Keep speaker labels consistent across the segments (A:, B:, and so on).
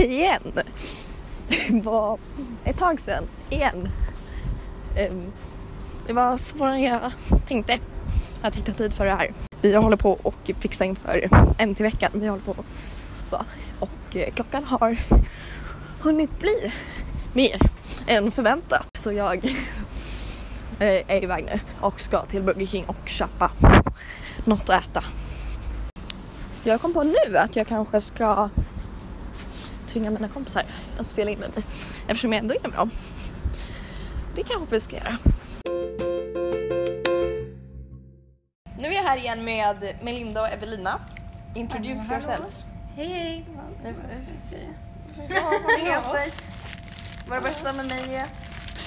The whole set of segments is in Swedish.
A: igen. var ett tag sedan. Igen. Ehm, det var svårare än jag tänkte att hitta tid för det här. Vi håller på och fixar inför MT-veckan. Vi håller på och så. Och eh, klockan har hunnit bli mer än förväntat. Så jag eh, är iväg nu och ska till Burger King och köpa något att äta. Jag kom på nu att jag kanske ska tvinga mina kompisar att spela in med mig eftersom jag ändå är med dem. Det kanske vi ska göra. Nu är jag här igen med Melinda och Evelina. Introduce yourself.
B: Hej hej!
A: Vad det bästa med mig är?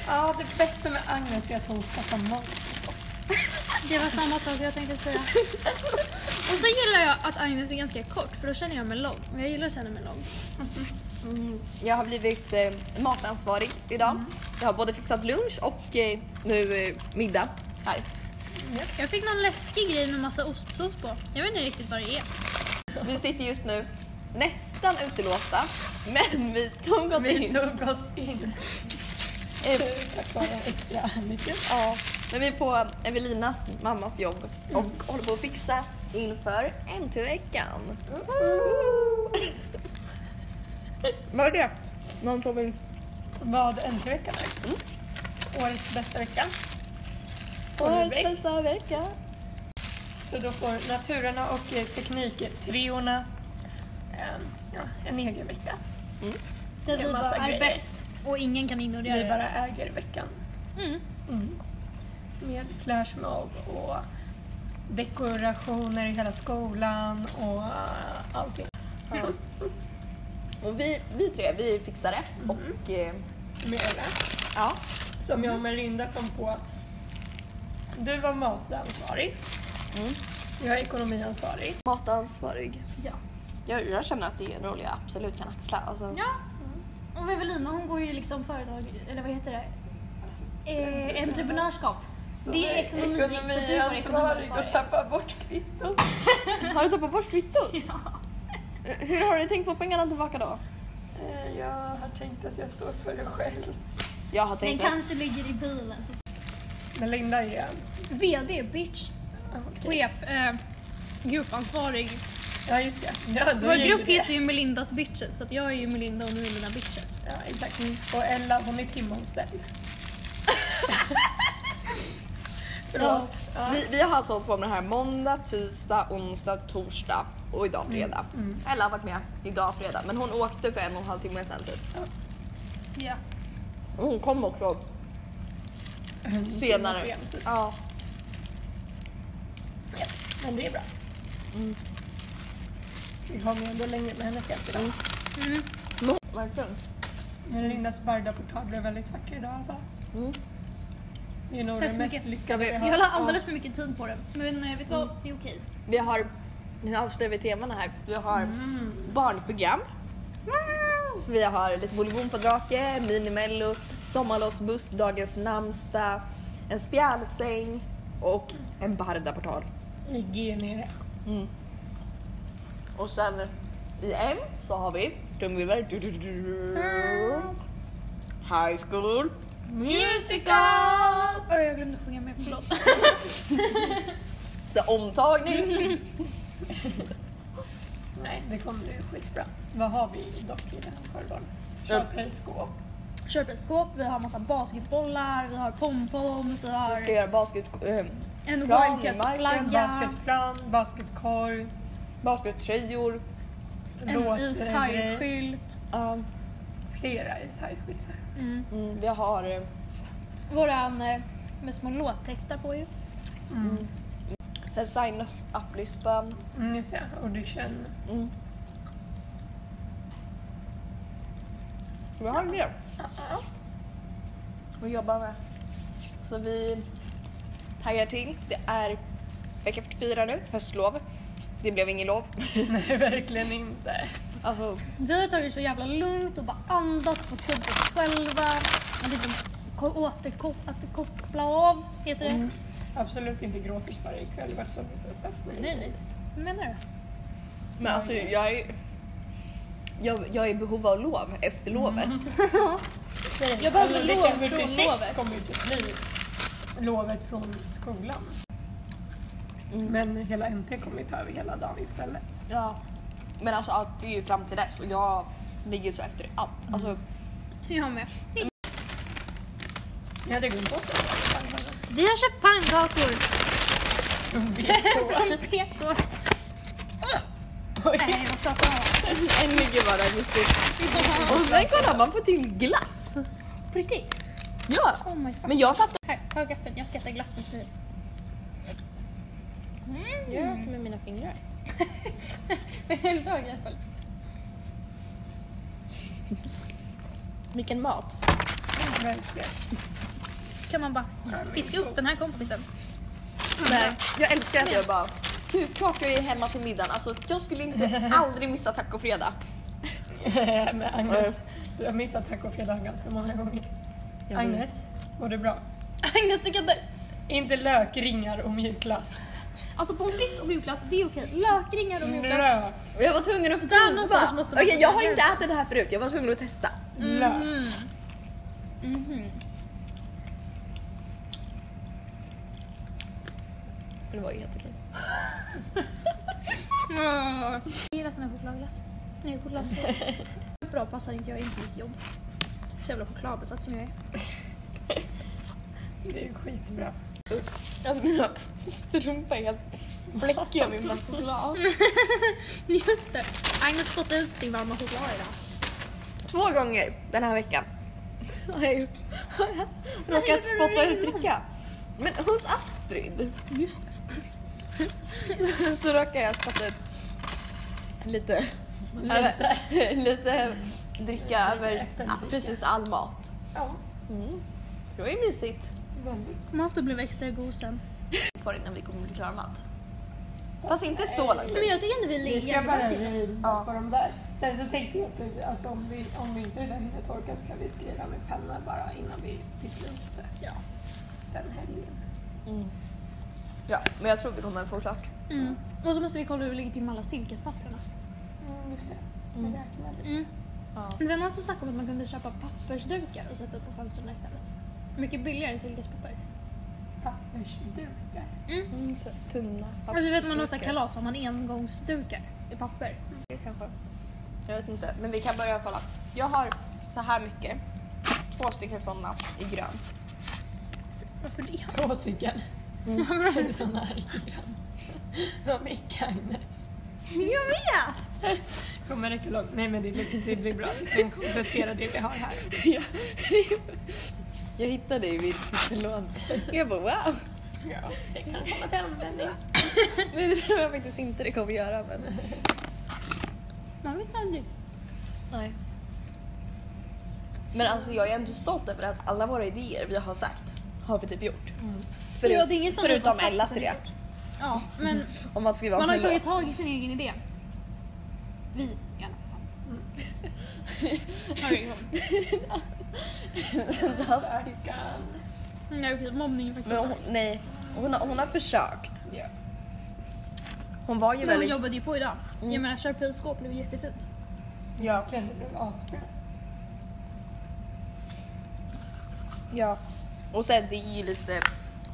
C: Ja, det bästa med Agnes är att hon skaffar mat.
B: Det var samma sak jag tänkte säga. Och så gillar jag att Agnes är ganska kort för då känner jag mig lång. Men jag gillar att känna mig lång.
A: Jag har blivit eh, matansvarig idag.
B: Mm.
A: Jag har både fixat lunch och eh, nu eh, middag här.
B: Jag fick någon läskig grej med massa ostsås på. Jag vet inte riktigt vad det är.
A: Vi sitter just nu nästan utelåsta, men vi tog oss in.
C: tog oss in.
A: Eh,
C: Tack vare extra Annika.
A: Ja, men vi är på Evelinas mammas jobb och håller på att fixa inför NT-veckan. Vad är det? Någon som vill...
C: Vad NT-veckan är. Mm. Årets bästa vecka.
A: Årets bästa vecka.
C: Så då får naturerna och eh, tekniktriorna ehm, ja, en egen vecka.
B: Där
C: Det är
B: vi
C: massa
B: bara är
C: grejer.
B: bäst och ingen kan ignorera
C: Vi
B: det.
C: bara äger veckan.
B: Mm.
C: Mm. Med flashmob och dekorationer i hela skolan och eh, allting. Mm.
A: Och vi, vi tre, vi är fixare
C: Mhm.
A: och... eh,
C: Med det.
A: Ja.
C: Som jag och Melinda kom på. Du var matansvarig.
A: Mm.
C: Jag är ekonomiansvarig.
A: Matansvarig.
B: Ja.
A: Jag, jag känner att det är en roll jag absolut kan axla. Alltså,
B: Ja. Och Evelina hon går ju liksom företag, eller vad heter det? Eh, entreprenörskap.
C: Så
B: Det är ekonomi, så du var
C: alltså, ekonomiansvarig
B: ekonomiansvarig.
C: och tappar bort kvittot.
A: Har du tappat bort kvittot? Hur har du tänkt få pengarna tillbaka då?
C: Eh, Jag har tänkt att jag står för det själv.
A: Jag har
B: Den
A: tänkt att-
B: kanske ligger i bilen. Så.
C: Melinda är...
B: VD, bitch,
C: ah, okej.
B: chef, eh, gruppansvarig.
C: Ja just det. Ja, då
B: Vår
C: är det
B: grupp
C: det.
B: heter ju Melindas bitches så att jag är ju Melinda och ni är mina bitches.
C: Ja exakt. Och Ella hon är timanställd. Förlåt. Ja.
A: Vi, vi har alltså hållit på med det här måndag, tisdag, onsdag, torsdag och idag fredag. Ella har varit med idag fredag men hon åkte för en och en halv timme sen typ.
B: Ja.
A: Och Hon kom också senare.
C: Sent.
A: Ja.
C: Ja, men det är bra.
A: Mm.
C: Vi kommer ändå längre med hennes hjälp idag.
B: Mm.
A: Men hon- Verkligen.
C: Men Lindas Barda-portal blev väldigt vacker idag i alla fall.
A: Mm.
C: Det är nog
B: Tack
C: det
B: så
C: mest
B: mycket.
C: lyckade
A: Ska vi-
B: Jag la alldeles för mycket tid på den. Men eh, vet du vad, det är okej.
A: Vi har, nu avslöjar vi temana här. Vi har barnprogram. Så vi har lite Bolibom på drake, Minimello, Sommarlovsbuss, Dagens namnsdag, en spjälsäng och en Barda-portal.
C: har. IG är nere.
A: Mm. Och sen i M så har vi trumvirvel. Du, du, du, du. High school.
B: Musical! Oj, jag glömde sjunga med, förlåt.
A: Så omtagning.
C: Nej, det kommer bli skitbra. Vad har vi dock i den här korridoren?
A: Ja.
C: Köpelskåp.
B: Köpelskåp, vi har massa basketbollar, vi har pompoms, vi
A: Vi ska
B: har
A: göra basket, eh,
B: en
A: plan i
C: En
B: Wildcats-flagga,
C: basketplan, basketkorg,
A: baskettröjor.
B: en
C: låt-
B: ishajskylt.
A: Ja,
C: Flera ishajskyltar.
B: Mm.
A: mm, vi har eh,
B: Våran eh, med små låttexter på ju.
C: Mm.
A: sen sign up-listan.
C: Mm, just det. Audition.
A: Mm. Vi har det vi jobbar med. Så vi taggar till. Det är vecka 44 nu, höstlov. Det blev ingen lov.
C: Nej, verkligen inte.
A: Alltså,
B: Vi har tagit så jävla lugnt och bara andats, fått tid på oss själva. Att liksom ko- återkoppla, att koppla av, heter det.
C: Absolut inte gråtit varje kväll, vart som vi stressat.
A: Mm.
B: Nej, nej. Vad menar du?
A: Men alltså jag är jag, jag är i behov av lov efter lovet.
B: Jag behöver
C: Eller
B: lov
C: veckan
B: från
C: 46
B: lovet.
C: kommer ju inte bli lovet från skolan. Men hela NT kommer ju ta över hela dagen istället.
A: Ja. Men alltså allt är ju fram till dess och jag ligger så efter i allt. Alltså,
B: Jag med.
C: Jag hade glömt bort det.
B: Vi har köpt pannkakor
C: Vet
B: från PK.
C: du? Oj.
B: Nej, vad satan
A: en ligger bara riktigt. Och sen kolla man får till glass.
B: På riktigt?
A: Ja.
B: Oh my fuck.
A: Men jag fattar.
B: Här, ta gaffeln. Jag ska äta glass med kniv. Mm. Jag äter med mina fingrar. Vill du ha gaffel?
A: Vilken mat.
C: Verkligen.
B: Kan man bara fiska upp den här kompisen?
A: Nej, jag älskar att jag bara... Gud, klart jag är hemma till middagen. Alltså jag skulle inte, aldrig missa tacofredag. Eh,
C: Men Agnes, du Eh, har missat tacofredagen ganska många gånger. Agnes, går det bra?
B: Agnes, du kan inte...
C: Inte lök, ringar och mjukglass.
B: Alltså pommes frites och mjukglass, det är okej. Lökringar
A: Mm.
B: och mjukglass.
C: Lök,
A: Och jag var tvungen att
B: Där någonstans måste man
A: Okej, jag har
B: börja.
A: inte ätit det här förut. Jag var tvungen att testa.
C: lök.
B: Mm. Mhm.
A: Det var ju helt okej.
B: Jag gillar sån här chokladglass. Nej, chokladglass. Bra passar inte jag in på mitt jobb. Så jävla chokladbesatt som jag är.
C: Det är skitbra.
A: Alltså mina strumpor är helt fläckiga med massa choklad.
B: Just det. Agnes spottade ut sin varma choklad idag.
A: Två gånger den här veckan har jag gjort- har jag råkat spotta ut dricka. Men hos Astrid
B: Just
A: så råkade jag spotta ut lite, över, lite dricka över ja, precis all mat.
C: Ja,
A: Mm. Det var ju mysigt.
C: väldigt.
B: Maten blev extra god sen.
A: På innan vi kommer bli klara med allt. Fast inte så långt.
B: Men jag tycker ändå vi
C: Vi
B: ligger
C: ska
B: ganska bra
C: bara
B: till.
C: riva på de där. Sen så tänkte jag att det- alltså, om, vi, om vi inte hinner torka så kan vi skriva med penna bara innan vi pysslar upp det.
B: Ja.
C: Den helgen.
A: Mm. Ja, men jag tror vi kommer få klart.
B: Mm. Och så måste vi kolla hur det ligger till med alla silkespapperna.
C: Mm, just det. Vi
A: Mm.
C: räknar lite.
B: Mm.
A: Ja.
B: Det var någon som snackade om att man kunde köpa pappersdukar och sätta upp på fönstren istället. Mycket billigare än silkespapper.
C: Pappersdukar.
A: Mm, så tunna
B: Alltså du vet man har så här
A: pappersdukar.
B: kalas har man engångsdukar i papper.
A: Kanske. Jag vet inte, men vi kan börja i alla fall. Jag har så här mycket. Två stycken sådana i grönt.
B: Varför det?
C: Två stycken. Mm. Sådana här i grann. Vad mycket Agnes.
A: Jag vet!
C: Kommer räcka långt. Nej men det blir, det blir bra. Den kompletterar det vi har här.
A: jag hittade det i min låda. Jag bara wow!
C: Ja, det kan komma till användning.
A: Nu tror jag faktiskt inte det kommer göra men...
B: Man vet aldrig.
A: Nej. Men alltså jag är ändå stolt över att alla våra idéer vi har sagt har vi typ gjort. Förut,
B: Ja, det är inget som vi har
A: förutom
B: sagt
A: Ellas
B: som vi
A: idé.
B: Ja, men
A: Om att skriva om
B: man har ju
A: en låt.
B: tagit tag i sin egen idé. Vi i alla fall.
A: Mm.
B: Har du igång?
C: Stackarn.
B: Nej okej, Mm, mobbning är faktiskt
A: Men hon, nej, hon har, hon har försökt.
C: Ja.
A: Hon var ju
B: Men hon
A: väldigt...
B: jobbade ju på idag.
A: Mm.
B: Jag menar terapiskåp blev jättefint.
C: Ja, kläder blev asbra.
A: Ja. Och sen det är ju lite...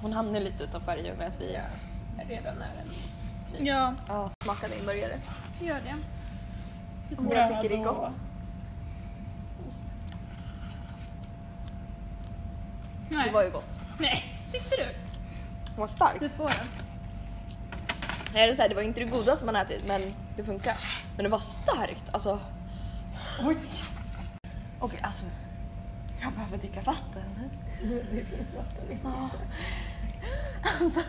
A: Hon hamnar lite utanför i och med att vi...
C: Ja, redan är den.
B: Ja,
A: Ja, smakar din burgare.
B: gör det. Du får-
A: Bra. Jag tycker det är
C: Bröd och
A: gott.
B: Ost.
A: Det
B: Nej.
A: var ju gott.
B: Nej, tyckte du?
A: Det var starkt.
B: Du får den.
A: Nej, det, är så här, det var inte det godaste man ätit men det funkar. Men det var starkt alltså.
C: Oj!
A: Okej alltså. Jag behöver dricka vatten.
C: Det finns vatten i
A: Alltså.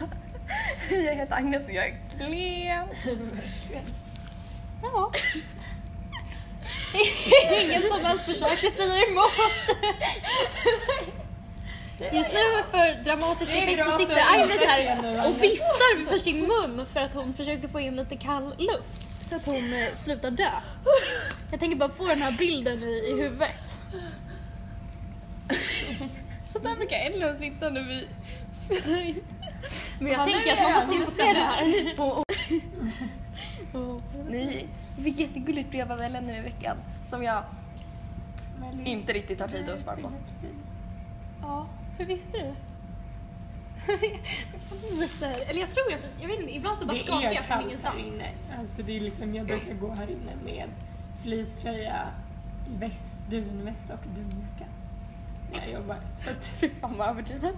A: Jag heter Agnes och jag är klen.
B: Ja. Ingen som ens försökte säga emot. Just nu för dramatisk
C: Det är
B: effekt så
C: bra
B: sitter
C: för-
B: Agnes
C: igen nu,
B: här
C: Agnes.
B: och viftar för sin mun för att hon försöker få in lite kall luft så att hon eh, slutar dö. Jag tänker bara få den här bilden i, i huvudet.
A: Så där brukar Ellen sitta när vi spelar in.
B: Men jag
A: Ja, nu
B: tänker
A: är
B: att man
A: jag.
B: måste ju få se det här.
A: Och, och, Ni jag fick jättegulligt brev av Ellen nu i veckan som jag inte riktigt har tid att svara på.
B: Ja, hur visste du? jag visar, eller jag tror jag jag vet inte, ibland så bara skakar
C: Det är
B: jag från
C: kallt här
B: ingenstans.
C: inne. Alltså det är liksom, jag brukar gå här inne med fleecetröja, väst, dunväst och dunjacka. När jag jobbar. Så att,
A: Fy fan vad överdrivet.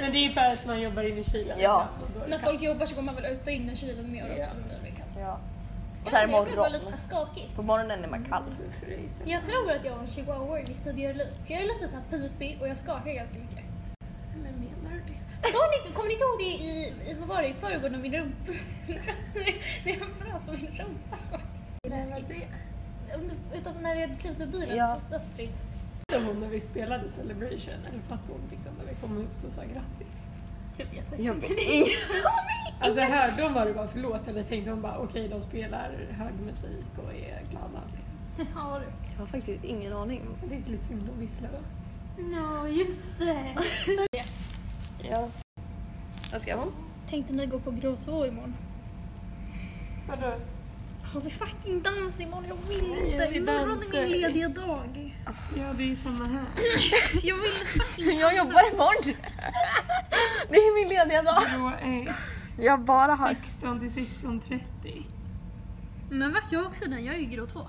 C: men det är för att man jobbar inne i kylen.
A: Ja.
C: ibland och då är det
B: När
C: kallt.
B: folk jobbar så går man väl ut och in i kylen mer också,
C: Ja.
B: då blir det väl kallt.
A: Ja.
B: Jag
A: Och så här i
B: vet inte, Jag blev bara
A: morgon.
B: lite så här skakig.
A: På morgonen är man kall.
C: Du fryser.
B: Jag tror att jag har en chihuahua i mitt tidigare liv. För jag är lite så här pipig och jag skakar ganska mycket.
C: Men menar du det?
B: Sa ni, kommer ni inte ihåg det i, i vad var det, i förrgår när min rumpa... när jag frös och min rumpa skakade? Det är läskigt. Under- Utav när vi hade klivit ur bilen
A: Ja.
B: hos Astrid.
C: Eller hon när vi spelade Celebration, eller fattade hon liksom när vi kom ut och sa grattis?
B: Typ, Jag vet faktiskt
A: Jag
B: inte.
C: Alltså hörde hon vad det var för låt eller tänkte hon bara okej de spelar hög musik och är glada? Liksom.
B: Ja, du.
A: Jag har faktiskt ingen aning.
C: Det är lite synd att vissla då.
B: Ja, just det.
A: Ja. Vad ska hon?
B: Tänkte ni gå på gråsvå imorgon?
C: Vadå?
B: Har vi fucking dans imorgon? Jag vill
C: Ja,
B: inte!
C: vi
B: Imorgon är
C: dansar.
B: min lediga dag.
C: Ja det är samma här.
B: Jag vill fucking
A: Jag jobbar imorgon. Det är min lediga dag.
C: Då är
A: Jag bara har...
C: 16 till 16.30.
B: Men vart jag också den? Jag är ju grå två.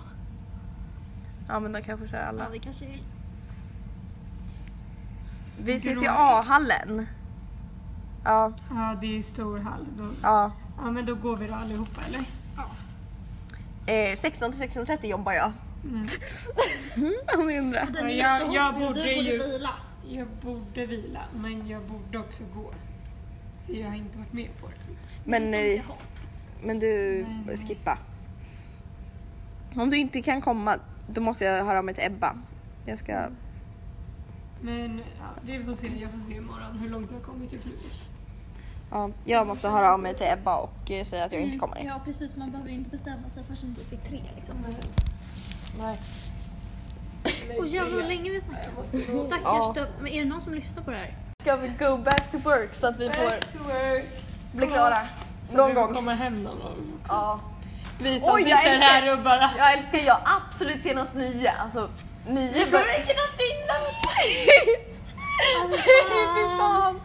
A: Ja men de kanske kör
B: Ja,
A: alla.
B: det kanske är...
A: Vi ses i A-hallen. Ja,
C: Ja det är stor hall. Då,
A: ja.
C: ja men då går vi då allihopa eller?
A: Eh, 16 till 16.30 jobbar jag.
C: Mm.
A: Om ni undrar.
B: Den är
C: Ja,
B: jättehoppig
C: jag- jag
B: och
C: borde
B: du borde
C: ju-
B: vila.
C: Jag borde vila men jag borde också gå. För jag har inte varit med på det.
A: Men, eh,
B: Jaha.
A: men du,
C: Nej, nej.
A: skippa. Om du inte kan komma, då måste jag höra av mig till Ebba. Jag ska...
C: Men ja, vi får se, jag får se imorgon hur långt jag har kommit i flyget.
A: Ja, jag måste höra av mig till Ebba och eh, säga att jag inte kommer.
B: Ja precis, man behöver ju inte bestämma sig förrän typ vid tre liksom.
A: Nej.
B: Och jävlar vad länge vi snackar. Stackars
A: Ja.
B: ja. Men är det någon som lyssnar på det här?
A: Ska vi go back to work så att vi får
C: Back to work!
A: bli klara?
C: Så
A: Någon
C: vi får
A: gång.
C: komma hem någon gång.
A: Ja.
C: Vi som
A: Oj, jag
C: sitter
A: älskar-
C: här och bara...
A: Jag älskar jag absolut senast nio. Alltså nio bör... Jag knappt innan! Fy fan!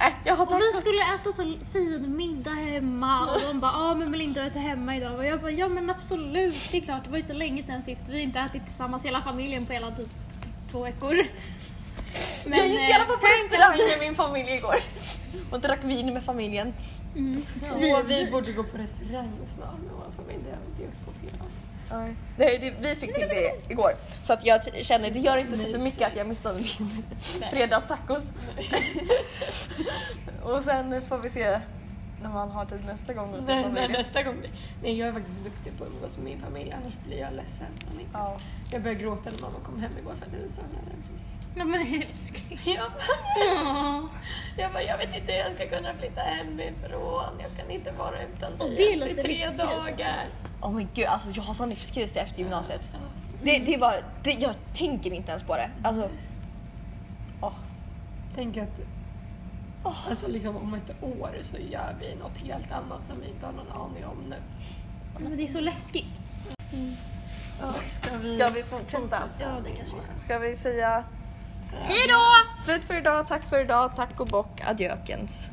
A: Äh, jag har
B: Och vi
A: tackat.
B: skulle äta så fin middag hemma och de bara ja ah, men Melinda är till hemma idag och jag bara ja men absolut det är klart det var ju så länge sedan sist vi har inte ätit tillsammans hela familjen på hela typ t- två veckor. Men,
A: Jag gick i alla fall på
B: eh,
A: restaurang med min familj igår. Och drack vin med familjen.
B: mm,
C: Åh,
B: svin.
C: vi borde gå på restaurang snart men varför har vi inte även gjort på flera år?
A: Nej, det, vi fick till det igår. Så att jag t- känner, det gör inte så för mycket att jag missar min fredagstacos. och sen får vi se när man har tid nästa gång. Och så
C: Nej,
A: får vi
C: nej,
A: det.
C: nästa gång. Nej, jag är faktiskt duktig på att umgås med min familj annars blir jag ledsen. Om inte.
A: Ja.
C: Jag började gråta när mamma kom hem igår för att jag saknade henne.
B: Nej men älskling.
C: Jag bara,
B: Ja.
C: jag bara, jag vet inte hur jag ska kunna flytta hemifrån. Jag kan inte vara utan dig
B: det är
C: ens i
B: lite
C: tre
B: livskris,
C: dagar.
A: Åh men gud, alltså jag har sån livskris efter gymnasiet. Det, det är bara, det, jag tänker inte ens på det. Alltså, åh.
C: Tänk att alltså, liksom, om ett år så gör vi något helt annat som vi inte har någon aning om nu.
B: Men det är så läskigt.
C: Ska vi...
A: Ska vi fortsätta?
B: Ja det kanske vi ska.
A: Ska vi säga
B: Hejdå!
A: slut för idag, tack för idag, tack och bock, adjökens.